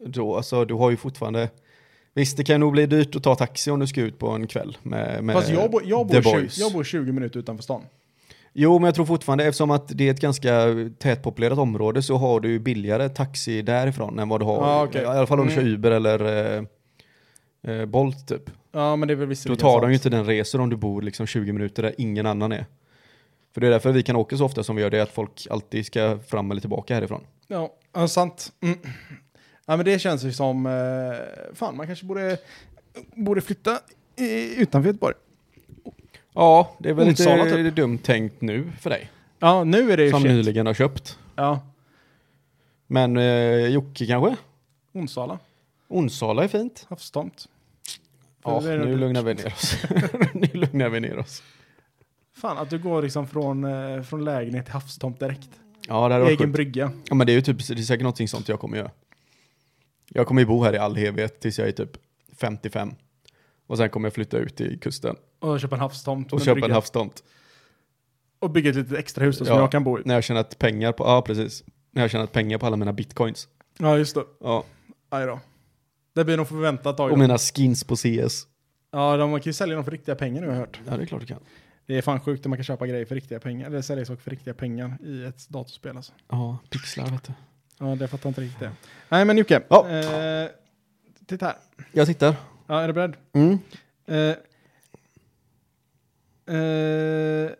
Då, alltså, du har ju fortfarande, visst det kan nog bli dyrt att ta taxi om du ska ut på en kväll med, med
Fast jag, bo, jag,
eh, The
bor 20,
Boys.
jag bor 20 minuter utanför stan.
Jo, men jag tror fortfarande, eftersom att det är ett ganska tätpopulerat område så har du ju billigare taxi därifrån än vad du har,
Ja, okej.
i alla fall om du kör
Mm.
Uber eller eh, eh, Bolt typ.
Ja, men det är väl visserligen
Då tar
sant.
de ju inte den resor om du bor liksom 20 minuter där ingen annan är. För det är därför vi kan åka så ofta som vi gör, det är att folk alltid ska fram eller tillbaka härifrån.
Ja, ja sant. Mm. Ja, men det känns ju som... Eh, fan, man kanske borde, borde flytta i, utanför Göteborg.
Ja, det är väl
Onsala,
lite
typ.
dumt tänkt nu för dig.
Ja, nu är det ju
Som
shit.
nyligen har köpt.
Ja,
Men eh, Jocke kanske?
Onsala,
Onsala är fint.
havstomt.
Ja,
Det är
nu
nog-
lugnar vi ner oss. nu lugnar vi ner oss.
Fan, att du går liksom från, eh, från lägenhet till havstomt direkt.
Ja, det hade varit
Egen
sjukt.
brygga.
ja, men det är ju typ, det är säkert någonting sånt jag kommer göra. Jag kommer ju bo här i all evighet tills jag är typ 55. Och sen kommer jag flytta ut till kusten
Och köpa en havstomt.
och
med
köpa
brygga.
en havstomt.
Och bygga ett litet extra hus då, som
Ja.
jag kan bo i.
När jag tjänat pengar på, ja precis. När jag tjänat pengar på alla mina bitcoins.
Ja, just det.
Ja.
Aj då. Det blir nog för vänta ett tag.
Och
då.
mina skins på CS.
Ja, de man kan ju sälja dem för riktiga pengar nu har jag hört.
Ja, det är klart du kan.
Det är fan sjukt att man kan köpa grejer för riktiga pengar. Eller sälja saker för riktiga pengar i ett datorspel alltså.
Ja, pixlar vet du.
Ja, det fattar jag inte riktigt det. Nej, men Jocke.
Ja.
Eh, titta här.
Jag tittar.
Ja, är du beredd?
Mm.
Eh, eh,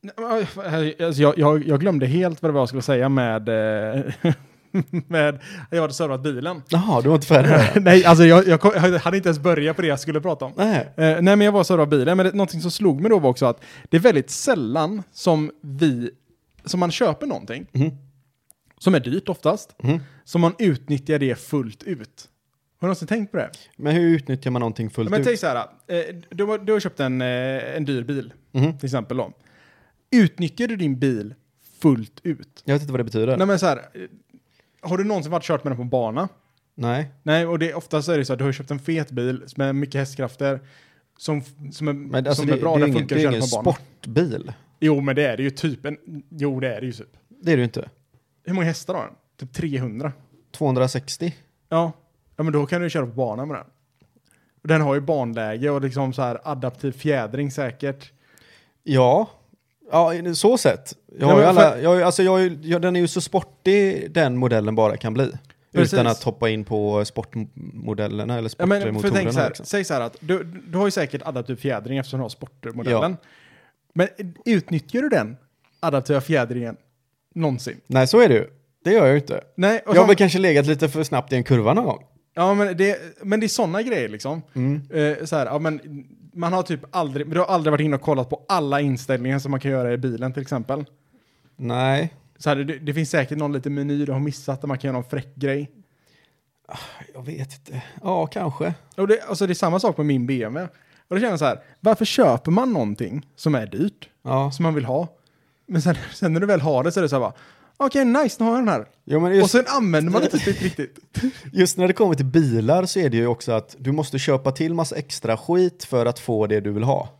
nej, men, oj, alltså, jag, jag, jag glömde helt vad det var jag skulle säga med... Eh, med jag hade servat bilen.
Jaha, du var inte färdig där?
nej, alltså jag, jag, kom- jag hade inte ens börjat på det jag skulle prata om.
Nej.
Eh, nej, men jag var och servade bilen. Men det, någonting som slog mig då var också att det är väldigt sällan som vi... Som man köper någonting,
Mhm.
som är dyrt oftast,
Mhm.
som man utnyttjar det fullt ut. Har du någonsin tänkt på det?
Men hur utnyttjar man någonting fullt
Men tänk
ut?
så här, eh, du, har- du har köpt en, eh, en dyr bil,
Mhm.
till exempel. Då. Utnyttjar du din bil fullt ut?
Jag vet inte vad det betyder.
Nej, men så här, eh, har du någonsin varit kört med den på en bana?
Nej.
Nej, och det, oftast är det så att du har köpt en fet bil med mycket hästkrafter som, f- som, är,
Men alltså,
som
det,
är bra,
det är
den
ingen,
funkar
det
att
är
köra
ingen
på en bana.
sportbil.
Jo, men det är det ju typ. En, jo, det är det ju typ.
Det är det ju inte.
Hur många hästar har den? Typ 300.
260.
Ja, ja men då kan du ju köra på banan med den. Och Den har ju banläge och liksom så här adaptiv fjädring säkert.
Ja. Ja, i så sett. Jag har
Nej,
ju
men
alla, jag, har ju- alltså jag, har ju- jag, den är ju så sportig den modellen bara kan bli.
Precis.
Utan att hoppa in på sportmodellerna eller
Ja, men för
sportmotorerna.
tänk så här,
liksom.
säg så här att du, du har ju säkert adaptiv fjädring eftersom du har sportmodellen. Men utnyttjar du den adaptiva fjädringen någonsin?
Nej, så är det ju. Det gör jag ju inte.
Nej, och
jag har
så-
väl kanske legat lite för snabbt i en kurva någon gång.
Ja, men det, men det är sådana grejer liksom. Eh, så här, ja, men man har typ aldrig, du har aldrig varit inne och kollat på alla inställningar som man kan göra i bilen till exempel.
Nej,
Så här, det, det finns säkert någon liten meny du har missat där man kan göra någon fräck grej.
jag vet inte. Ja, kanske.
Och det, alltså, det är samma sak med min BMW. Och då känner jag så här, varför köper man någonting som är dyrt,
Ja.
som man vill ha? Men sen, sen när du väl har det så är det så här bara, okej nice, nu har jag den här.
Jo, men just,
Och sen använder man det inte typ riktigt.
just när det kommer till bilar så är det ju också att du måste köpa till massa extra skit för att få det du vill ha.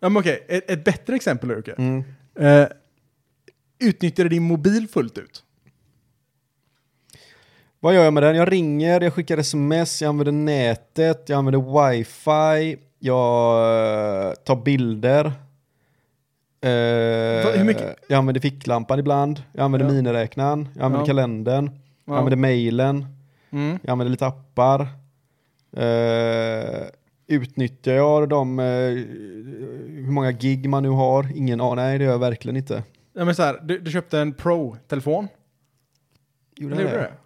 Ja, men okej, ett, ett bättre exempel Jocke.
Mm.
Eh, utnyttjar du din mobil fullt ut?
Vad gör jag med den? Jag ringer, jag skickar sms, jag använder nätet, jag använder wifi, jag eh, tar bilder. Eh,
Va, hur mycket-
Jag använder ficklampan ibland, jag använder
Ja.
miniräknaren, jag använder
Ja.
kalendern,
Ja.
jag använder mejlen,
Mm.
jag använder lite appar. Eh, utnyttjar jag de, eh, hur många gig man nu har? Ingen aning, nej det gör jag verkligen inte.
Ja, men så här, du, du köpte en Pro-telefon.
Gjorde
Eller
jag
gjorde du
det?
det?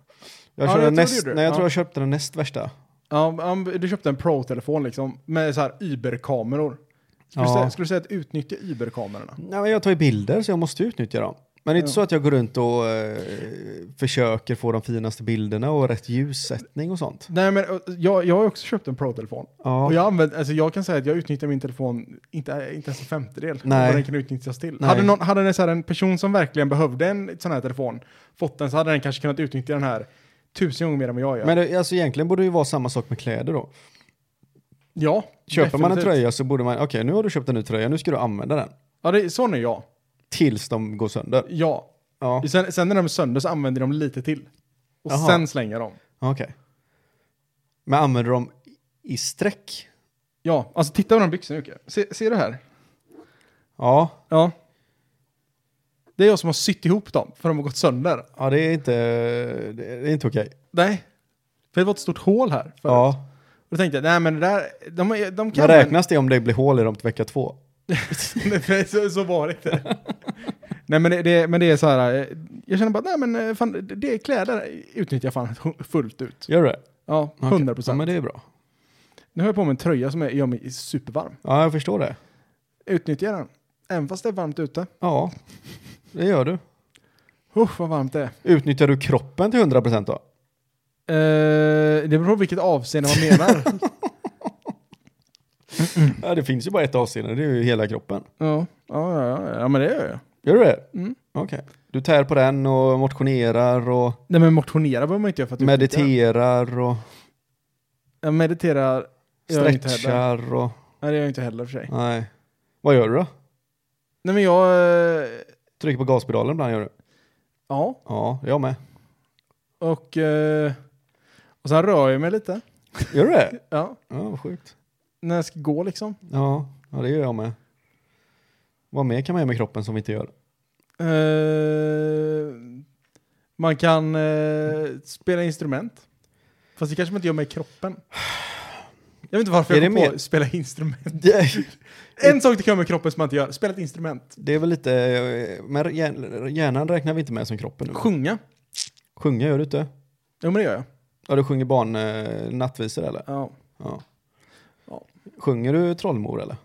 Jag,
Ja,
körde
jag tror du
näst,
gjorde det.
nej, jag
Ja.
tror jag köpte den näst värsta.
Ja, men du köpte en Pro-telefon liksom, med så här Uber-kameror. Skulle,
Ja.
du säga, skulle du säga att utnyttja Uber-kamerorna?
Nej, men jag tar ju bilder så jag måste utnyttja dem. Men det är inte
Ja.
så att jag går runt och eh, försöker få de finaste bilderna och rätt ljussättning och sånt.
Nej, men ö, jag, jag har också köpt en Pro-telefon.
Ja,
Och jag, använder, alltså jag kan säga att jag utnyttjar min telefon inte, inte ens en femtedel av
Nej.
vad den kan utnyttjas till.
Nej.
Hade, någon, hade en, så här, en person som verkligen behövde en sån här telefon fått den så hade den kanske kunnat utnyttja den här tusen gånger mer än vad jag gör.
Men det, alltså, egentligen borde det ju vara samma sak med kläder då.
Ja,
Köper man en
definitivt.
tröja så borde man, okej nu har du köpt en ny tröja, nu ska du använda den.
Ja, det, är- sån är jag.
Tills de går sönder.
Ja.
Ja,
Sen, sen när de är sönder så använder de lite till. Och
Jaha.
sen slänger de.
okej. Men använder de i sträck?
Ja, alltså titta på de byxorna Jocke. Se, ser du här?
Ja,
Ja. Det är jag som har sytt ihop dem, för de har gått sönder.
ja det är inte, det är inte okej.
Nej. För det var ett stort hål här. För
Ja.
Och då tänkte jag, nej men det där, de, är- de kan...
Men räknas det om det blir hål i dem till vecka två?
nej, så, så var det inte. nej men det, det, men det är så här, eh, jag känner bara, nej men eh, fan, det- det är kläder utnyttjar jag fan hu- fullt ut.
Gör det?
Ja,
Okej.
100
Ja,
procent.
men det är bra.
Nu har jag på mig en tröja som är, gör mig supervarm.
Ja, jag förstår det.
Utnyttjar den, även fast det är varmt ute.
Ja, det gör du.
Usch vad varmt det är.
Utnyttjar du kroppen till 100% då?
Eh, det beror på vilket avseende man menar.
Ja, det finns ju bara ett avseende, det är ju hela kroppen.
ja, ja, ja, ja, ja, men det gör jag.
Gör du det?
Mm.
Okej. Du tär på den och motionerar och
Nej men motionera behöver man inte göra för att utnyttja den.
mediterar och
Jag mediterar, jag gör jag inte heller.
stretchar och...
Nej det gör jag inte heller för sig.
Nej. Vad gör du då?
Nej men jag, eh,
Trycker på gaspedalen ibland gör du?
ja.
Ja, jag med.
Och, eh, och sen rör jag mig lite.
Gör du det?
Ja,
Ja, vad sjukt.
när jag ska gå liksom.
Ja, ja, det gör jag med. Vad mer kan man göra med kroppen som vi inte gör?
Eh, man kan eh, spela instrument. Fast det kanske man inte gör med kroppen. Jag vet inte varför
Är
jag
det
kom på
mer-
spela instrument.
Det,
En sak du kan göra med kroppen som man inte gör, spela ett instrument.
det är väl lite... eh, Men hjär- hjärnan räknar vi inte med som kroppen nu.
Sjunga.
Sjunga gör du inte?
Jo men det gör jag.
Ja, du sjunger barn eh, nattvisor eller?
Ja.
Ja.
Ja.
Sjunger du Trollmor eller?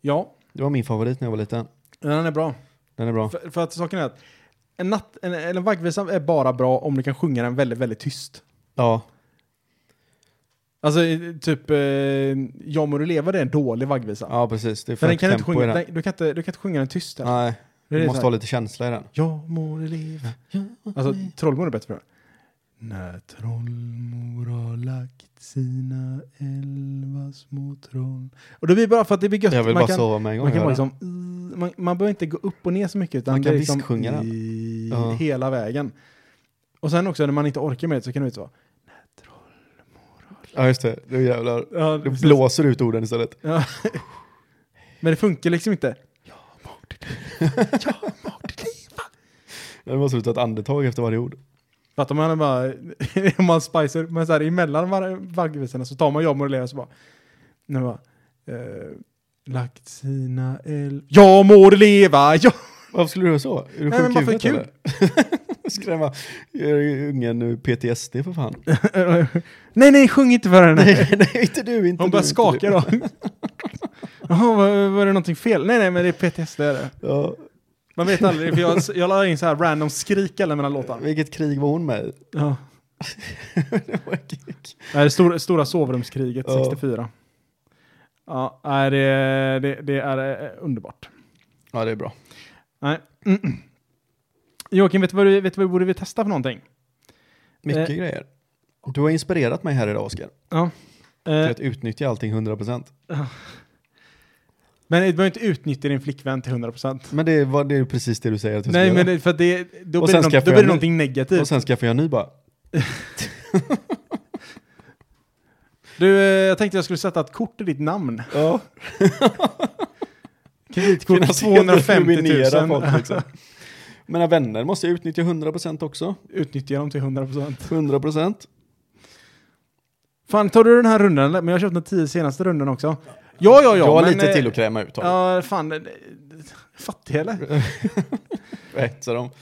ja.
Det var min favorit när jag var liten.
Den är bra.
Den är bra.
För, för att saken är att en, natt, en, eller en vaggvisa är bara bra om du kan sjunga den väldigt, väldigt tyst.
Ja.
Alltså i- typ, eh, Jag må du leva det är en dålig vaggvisa.
ja, precis. Det är
För
för
den kan du
högt
inte
tempo i
sjunga,
den.
den, du, kan inte, du kan inte sjunga den tyst. Eller?
Nej,
det är
du
så
måste
här,
ha lite känsla i den.
Jag må du leva. Alltså Trollmor är bättre för det. När Trollmor har lagt sina elva små troll. Och det blir bara för att det blir gött.
Jag vill
man
bara
kan,
sova med en gång.
man kan
och
bara
höra.
liksom, man, man behöver inte gå upp och ner så mycket. Utan
Man
det
kan
är liksom
visksjunga den.
i-
Ja.
Hela vägen. Och sen också när man inte orkar med det så kan det ut så.
Ja, just det. Du jävlar.
Ja,
Du blåser ut orden istället.
Ja. Men det funkar liksom inte.
Jag måste ta ett andetag efter varje ord.
Fattar om man bara, om man spicer, men så här emellan var- vaggvisorna så tar man jag må leva så bara, nu bara, eh, lagt sina el... Jag må leva! Ja!
Varför skulle du göra så? Är du
Nej, men
sjuk i
bara för
huvudet,
kul.
eller? Skrämma Gör ju ungen nu PTSD för fan.
nej, nej, sjung inte för henne!
nej, nej, inte du, inte
Hon
du,
börjar
inte
skaka
du.
då. Jaha, var, var det någonting fel? Nej, nej, men det är PTSD. Är det.
Ja.
Man vet aldrig, för jag, jag la in så här random skrik alla mina låtar.
Vilket krig var hon med i?
Ja.
Det var krig.
Nej, det stora, stora sovrumskriget
Ja.
64. Ja, nej, det, det, det är eh, underbart.
Ja, det är bra.
Nej. Mm. Joakim, vet du vad, du, vet du vad vi borde vi testa för någonting?
Mycket
Eh.
grejer. Du har inspirerat mig här idag, Oskar. Till
Eh,
att utnyttja allting 100%.
men du behöver inte utnyttja din flickvän till 100%.
Men det, var, det är ju precis det du säger att jag ska
Nej,
göra.
men det, typ- för att det, då
Och
blir
sen
det, någon,
ska
då
jag
blir
få
det
göra ny-
någonting negativt.
Och sen skaffar jag en ny bara.
Du, eh, jag tänkte jag skulle sätta ett kort i ditt namn.
Ja,
Kreditkort 250 000.
Folk, liksom. Mina vänner måste jag utnyttja 100% också.
Utnyttja dem till 100%.
100%.
Fan, tar du den här rundan? eller? Men jag har köpt den tio senaste rundan också. Ja, ja, ja.
jag har
men,
lite
eh,
till att kräma ut. har jag.
Ja, fan. eh, Fattig eller?
Rätt, så de. Nej,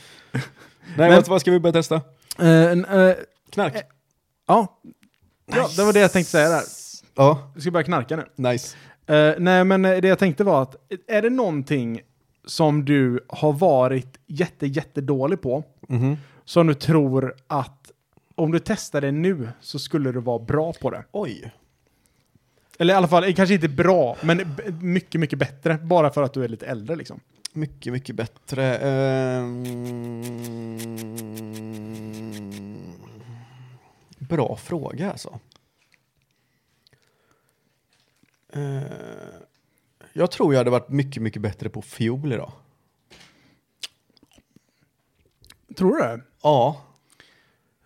Men-
vad, vad ska vi börja testa?
Eh, en, eh,
Knark.
Eh. ja. ja, det var det jag tänkte säga där.
Ja,
Vi ska börja knarka nu.
nice.
Eh, nej, men eh, det jag tänkte var att eh, är det någonting som du har varit jätte, jättedålig på
Mhm.
som du tror att om du testar det nu så skulle du vara bra på det?
Oj.
Eller i alla fall, eh, kanske inte bra, men b- mycket, mycket bättre. Bara för att du är lite äldre liksom.
Mycket, mycket bättre. Ehm, Ehm, Bra fråga alltså. Eh, jag tror jag hade varit mycket, mycket bättre på fiol idag.
Tror du det?
Ja,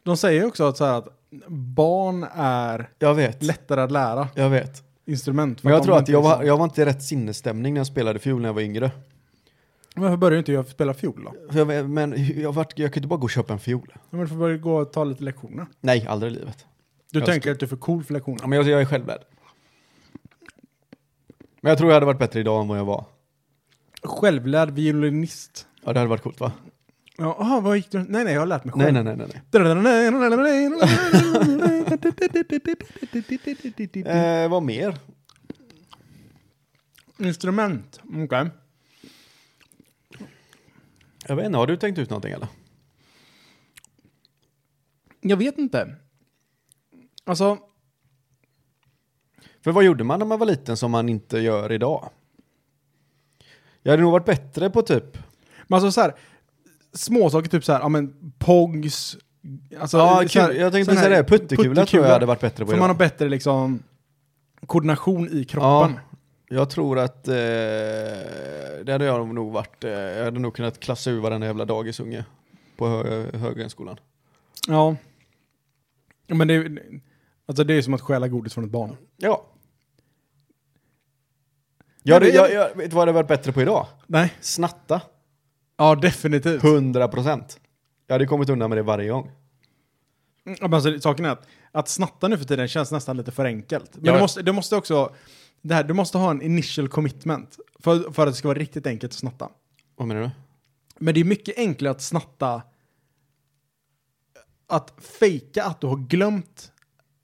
De säger ju också att, så här att barn är
jag vet.
lättare att lära
Jag vet.
instrument. för
Men jag
de
tror att
inte
jag var,
liksom-
jag var inte i rätt sinnesstämning när jag spelade fiol när jag var yngre.
Varför börjar inte jag spela fiol då?
För jag, vet- men jag, vart, jag kunde inte bara gå och köpa en fiol.
Ja, men du får börja gå och ta lite lektioner.
Nej, aldrig i livet.
Du
Jag
tänker
ska-
att du är för cool för
Ja,
lektioner.
men jag, jag är självlärd. Men jag tror jag hade varit bättre idag än vad jag var.
Självlärd violinist.
Ja, det hade varit coolt va?
Ja, aha, vad gick du? Nej, nej, jag har lärt mig själv.
Nej, nej, nej, nej. nej. Eh, vad mer?
Instrument. Okej.
Jag vet inte, har du tänkt ut någonting eller?
Jag vet inte. Alltså,
För vad gjorde man när man var liten som man inte gör idag? Jag hade nog varit bättre på typ...
men alltså så här, småsaker typ så här, ja men pogs. Alltså,
ja,
så här-
kul. Jag tänkte
sån
säga
här
det, puttekula, tror jag hade varit bättre på
För man har
idag.
bättre liksom koordination i kroppen.
Jag tror att eh, det hade jag nog varit. Eh, jag hade nog kunnat klassa ur varenda jävla dagisunge på hö- Högrenskolan.
Ja. ja. Men det är, alltså det är som att stjäla godis från ett barn.
Ja.
Men
Jag, hade,
det-
jag, jag vet du vad jag hade varit bättre på idag?
Nej.
Snatta.
Ja, definitivt.
100 procent. Jag hade kommit undan med det varje gång.
Mm, men alltså, saken är att, att snatta nu för tiden känns nästan lite för enkelt. Men
Ja.
du, måste, du måste också... Det här, du måste ha en initial commitment för, för att det ska vara riktigt enkelt att snatta.
Vad menar du?
Men det är mycket enklare att snatta... Att fejka att du har glömt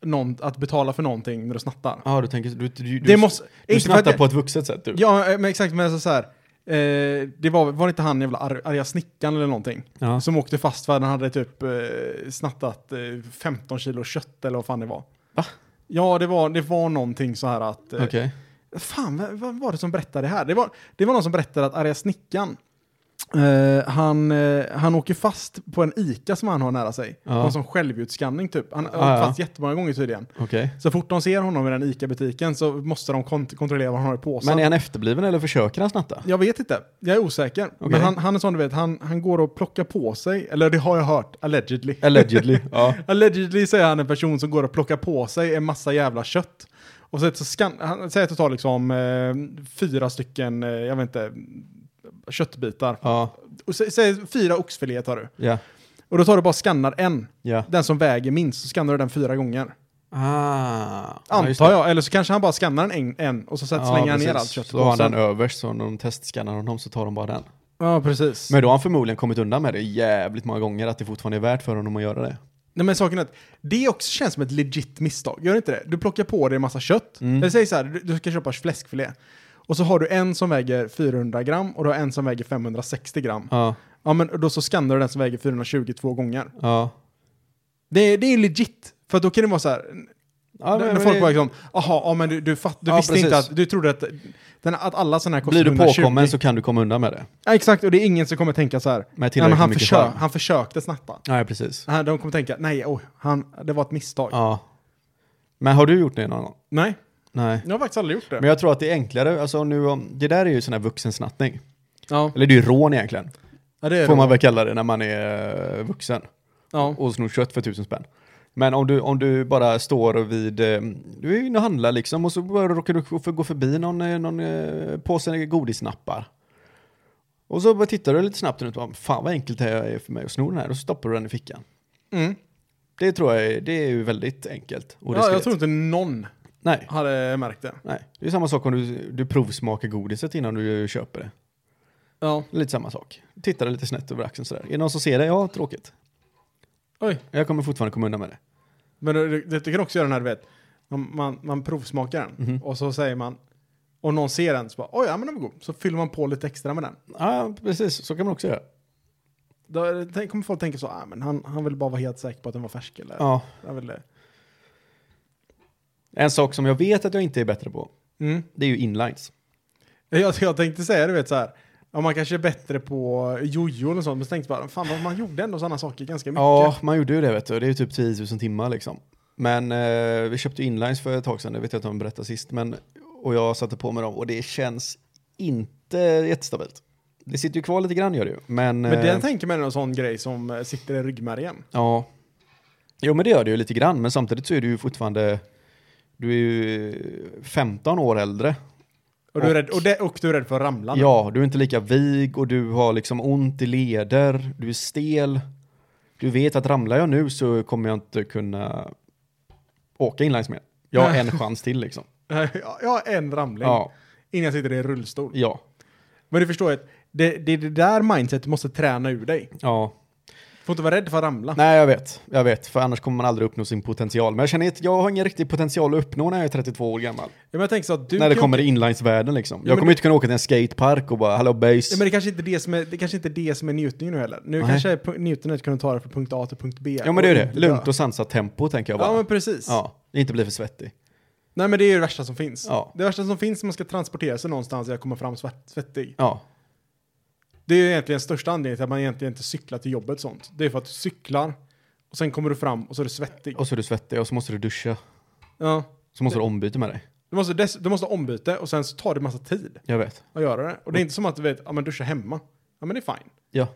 någon, att betala för någonting när du snattar.
Ja, du tänker... Du, du,
det måste...
du
inte för att
snattar
det-
på ett vuxet sätt typ. du.
Ja, men exakt. Men alltså så här, eh, det var, var det inte han jävla ar- arga snickaren eller någonting?
Ja.
Som åkte fast för att han hade typ eh, snattat eh, 15 kilo kött eller vad fan det var.
Va?
Ja, det var, det var någonting så här att... Eh,
Okej.
Fan, vad, vad var det som berättade det här? Det var, det var någon som berättade att arga snickaren, eh, han, eh, han åker fast på en ICA som han har nära sig.
Ja.
Någon som självljudskanning typ. Han har
Ja,
åkt
ja.
fast jättemånga gånger tydligen.
Okej.
Så fort de ser honom i den ICA-butiken så måste de kont- kontrollera vad han har i påsen.
Men är han efterbliven eller försöker han snatta?
Jag vet inte. Jag är osäker. Men
Okej.
han, han är sån du vet, han, han går och plockar på sig, eller det har jag hört, allegedly.
Allegedly. ja.
Allegedly så är han en person som går och plockar på sig en massa jävla kött. Och så, så skan, han säger att det tar liksom eh, fyra stycken, eh, jag vet inte, köttbitar.
Ja.
Och sä, säg fyra oxfilé tar du.
Ja.
Och då tar du bara och skannar en.
Ja.
Den som väger minst, så skannar du den fyra gånger.
Ah. Ja, just
Antar
det.
jag, eller så kanske han bara skannar en, en och så sätter, slänger han ner
precis.
allt kött
Så har han den överst, så när de testskannar honom så tar de bara den.
Ja, precis.
Men då har han förmodligen kommit undan med det jävligt många gånger, att det fortfarande är värt för honom att göra det.
Nej men saken är att det också känns som ett legit misstag, gör det inte det? Du plockar på dig en massa kött,
Mm.
eller säg så här, du, du ska köpa fläskfilé. Och så har du en som väger 400 gram och du har en som väger 560 gram.
Ja.
Ja men då så skannar du den som väger 422 gånger.
Ja.
Det, det är legit, för att då kan det vara så här,
ja
när, när folk bara liksom, jaha, ja men du, du, fatt, du
Ja,
visste inte
precis.
att, du trodde att, den, att alla sådana här kostar
Blir du
120.
påkommen så kan du komma undan med det.
Ja, exakt, och det är ingen som kommer tänka så här,
Med
nej, men
tillräckligt
han,
mycket
försö-
charm.
han försökte snatta.
Nej, precis.
Han- De kommer tänka, nej, oj, han, det var ett misstag.
Ja. Men har du gjort det någon gång?
Nej,
Nej.
jag har faktiskt aldrig gjort det.
Men jag tror att det är enklare, alltså nu, om- det där är ju sån här vuxensnattning.
Ja,
Eller det är ju rån egentligen,
ja det är
får
det.
man väl kalla det när man är eh, vuxen.
Ja.
och snor kött för tusen spänn. Men om du, om du bara står vid, eh, du är inne och handlar liksom och så bara råkar du för- gå förbi någon, eh, någon eh, påse godisnappar. Och så bara tittar du lite snabbt runt och bara, fan vad enkelt det här är för mig att sno den här och så stoppar du den i fickan.
Mm.
Det tror jag är, det är ju väldigt enkelt och
ja, jag
diskret.
tror inte någon
Nej,
hade märkt det.
nej. Det är samma sak om du, du provsmakar godiset innan du köper det.
Ja.
Lite samma sak. Tittar lite snett över axeln sådär. Är det någon som ser det? Ja, tråkigt.
Oj,
Jag kommer fortfarande komma undan med det.
men det, det, det kan också göra den här, du vet, man, man, man provsmakar den
Mhm.
och så säger man, och någon ser den så bara, oj, ja men den var god. Så fyller man på lite extra med den.
Ja, precis. Så kan man också göra.
Då är det- tänk- kommer folk tänka så, ah, men han, han vill bara vara helt säker på att den var färsk eller?
Ja.
Han ville...
En sak som jag vet att jag inte är bättre på,
mm.
det är ju inlines.
jag, jag tänkte säga, du vet så här, ja, man kanske är bättre på jojo och sånt, men så tänkte jag bara, fan vad man gjorde ändå sådana saker ganska mycket.
Ja, man gjorde ju det vet du. Det är ju typ 10 000 timmar liksom. Men eh, vi köpte ju inlines för ett tag sedan, det vet jag inte om jag berättade sist. Men, Och jag satte på mig dem och det känns inte jättestabilt. Det sitter ju kvar lite grann gör det ju. Men,
Men
eh,
den tänker man är någon sån grej som eh, sitter i ryggmärgen.
Ja. Jo, men det gör det ju lite grann, men samtidigt så är du ju fortfarande... Du är ju 15 år äldre.
Och du, är
Och-
rädd, och, det, och du är rädd för att ramla. nu.
Ja, du är inte lika vig och du har liksom ont i leder, du är stel. Du vet att ramlar jag nu så kommer jag inte kunna åka inlines mer. Jag har en chans till liksom.
Jag har en ramling
Ja,
innan jag sitter i rullstol.
ja,
Men du förstår ju att det, det är det där mindset du måste träna ur dig.
ja.
Får inte vara rädd för att ramla.
Nej, jag vet, jag vet, för annars kommer man aldrig uppnå sin potential. Men jag känner att jag har ingen riktig potential att uppnå när jag är 32 år gammal.
Ja, men jag tänker så att du
när det
kan-
kommer till inlinesvärlden liksom.
Ja,
jag
men
kommer
det-
inte kunna åka till en skatepark och bara hallå base.
Ja, men det kanske inte är det som är, det kanske inte är, det som är njutningen nu heller. Nu
Nej.
kanske är pu- njutningen att kunna ta det från punkt A till punkt B.
Ja men det är
och
det.
inte
Lugnt
dö.
och sansat tempo tänker jag bara.
Ja men precis.
Ja, inte bli för svettig.
Nej men det är ju det värsta som finns.
Ja.
Det värsta som finns om man ska transportera sig någonstans är att komma fram svett, svettig.
Ja,
Det är ju egentligen den största anledningen till att man egentligen inte cyklar till jobbet och sånt. Det är för att du cyklar och sen kommer du fram och så är du svettig.
och så är du svettig och så måste du duscha.
Ja.
Så måste du ombyta med dig.
Du måste, dess, du måste ha ombyte och sen så tar det massa tid
Jag vet.
att göra det. Och det är inte som att du vet, ja men duscha hemma. Ja men det är fine.
Ja,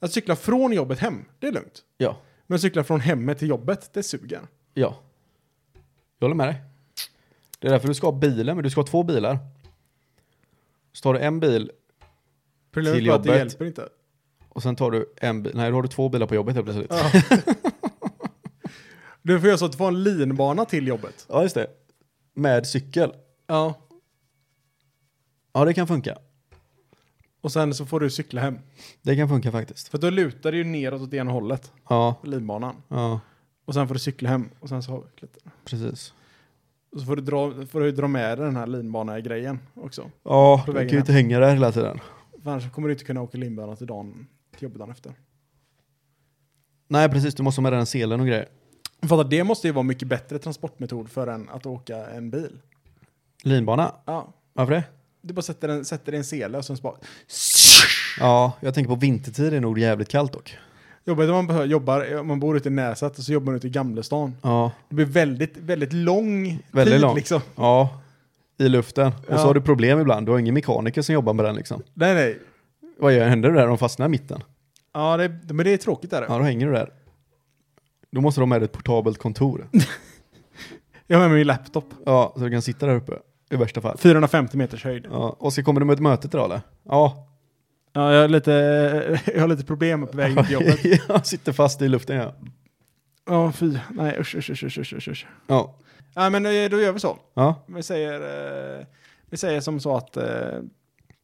Att cykla från jobbet hem, det är lugnt.
ja,
Men att cykla från hemmet till jobbet, det suger.
ja. Jag håller med dig. Det är därför du ska ha bilen, men du ska ha två bilar. Så tar du en bil
Problemet
Till
är bara att det
jobbet.
hjälper inte.
och sen tar du en bil. Nej, då har du två bilar på jobbet helt plötsligt.
Ja. du får göra så att du får en linbana till jobbet.
Ja, just det. Med cykel.
Ja.
Ja, det kan funka.
Och sen så får du cykla hem.
Det kan funka faktiskt.
För då lutar det ju neråt åt ena hållet,
Ja,
linbanan.
ja, och
Och sen får du cykla hem och sen så har vi lite.
precis.
Och så får du dra, får du dra med dig den här linbana-grejen också.
Ja,
På
du kan
vägen
ju
hem.
inte hänga där hela tiden.
För annars kommer du inte kunna åka linbana till, dagen, till jobbet dagen efter.
Nej, precis. Du måste ha med dig den selen och grejer.
För att det måste ju vara mycket bättre transportmetod för än att åka en bil.
Linbana.
Ja.
Varför det?
Du bara sätter en, sätter en sele och sen så bara...
Ja, jag tänker på vintertid är det nog jävligt kallt dock.
Jobbet om man behöver- jobbar, eh, om man bor ute i Näset och så jobbar man ute i Gamlestan.
Ja,
Det blir väldigt, väldigt lång
Väldigt
tid
lång.
liksom.
ja i luften. Och
Ja.
så har du problem ibland, du har ingen mekaniker som jobbar med den liksom.
Nej, nej.
Vad gör, händer det där? De fastnar i mitten.
Ja, det, men det är tråkigt där.
Ja, då hänger du där. Då måste de ha med dig ett portabelt kontor.
Jag har med mig min laptop.
Ja, så du kan sitta där uppe i värsta fall.
450 meters höjd.
Ja, Oskar, kommer du med ett möte idag eller? Ja.
Ja, jag har lite, jag har lite problem på vägen till jobbet.
jag sitter fast i luften ja.
Ja, fy. Nej, usch, usch, usch, usch, usch, usch, usch.
Ja,
Ja, men eh, då gör vi så.
ja.
Vi säger, eh, vi säger som så att eh,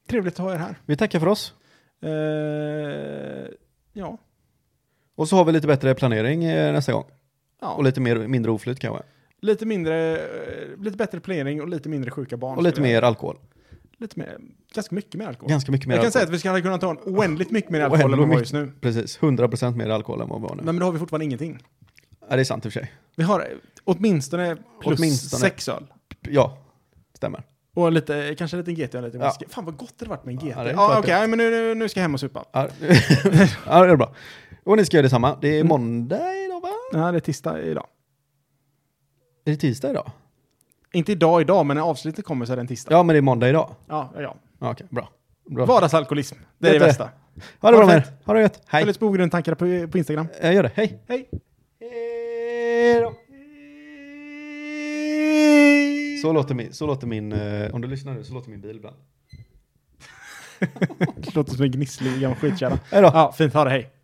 trevligt att ha er här.
vi tackar för oss.
Eh, ja.
Och så har vi lite bättre planering eh, nästa gång. Och
ja.
lite mer, mindre oflyt kanske.
Lite mindre, eh, lite bättre planering och lite mindre sjuka barn.
Och lite
skulle jag-
mer alkohol.
Lite mer, ganska mycket mer alkohol.
Ganska mycket mer
jag kan
alkohol.
säga att vi skulle kunna ta en oändligt mycket mer alkohol än vad vi
Oändligt
har just nu.
Precis, 100% mer alkohol än vad vi har nu.
Nej, men då har vi fortfarande ingenting.
Ja, det är sant i och för sig.
Vi har eh, åtminstone plus
Åtminstone.
sex öl.
Ja, stämmer.
Och lite, eh, kanske en liten GT och lite
Ja.
whisky. Fan vad gott det hade varit med en GT.
Ja, det
Ja,
är klart
ah,
det.
okej, men nu, nu, nu ska jag hem och supa.
Ja, ja, det är bra. Och ni ska göra detsamma. Det är måndag idag, va?
Ja, det är tisdag idag.
Är det tisdag idag?
Inte idag, idag, men när avslutet kommer så är det en tisdag.
Ja, men det är måndag idag.
Ja, ja. ja.
Ja, Okej, bra. bra.
Vardagsalkoholism, det är det
Vet du,
bästa.
Ha det bra
Ha
med
det
er. Ha det gött. Hej.
Följ oss på Ogrund tankar på, på Instagram.
Jag gör det. Hej.
Hej!
Så låter min, så låter min eh, om du lyssnar nu, så låter min bil ibland.
Det låter som en gnisslig gammal skitkärra.
Hej då.
Ja, fint. Ha det, hej.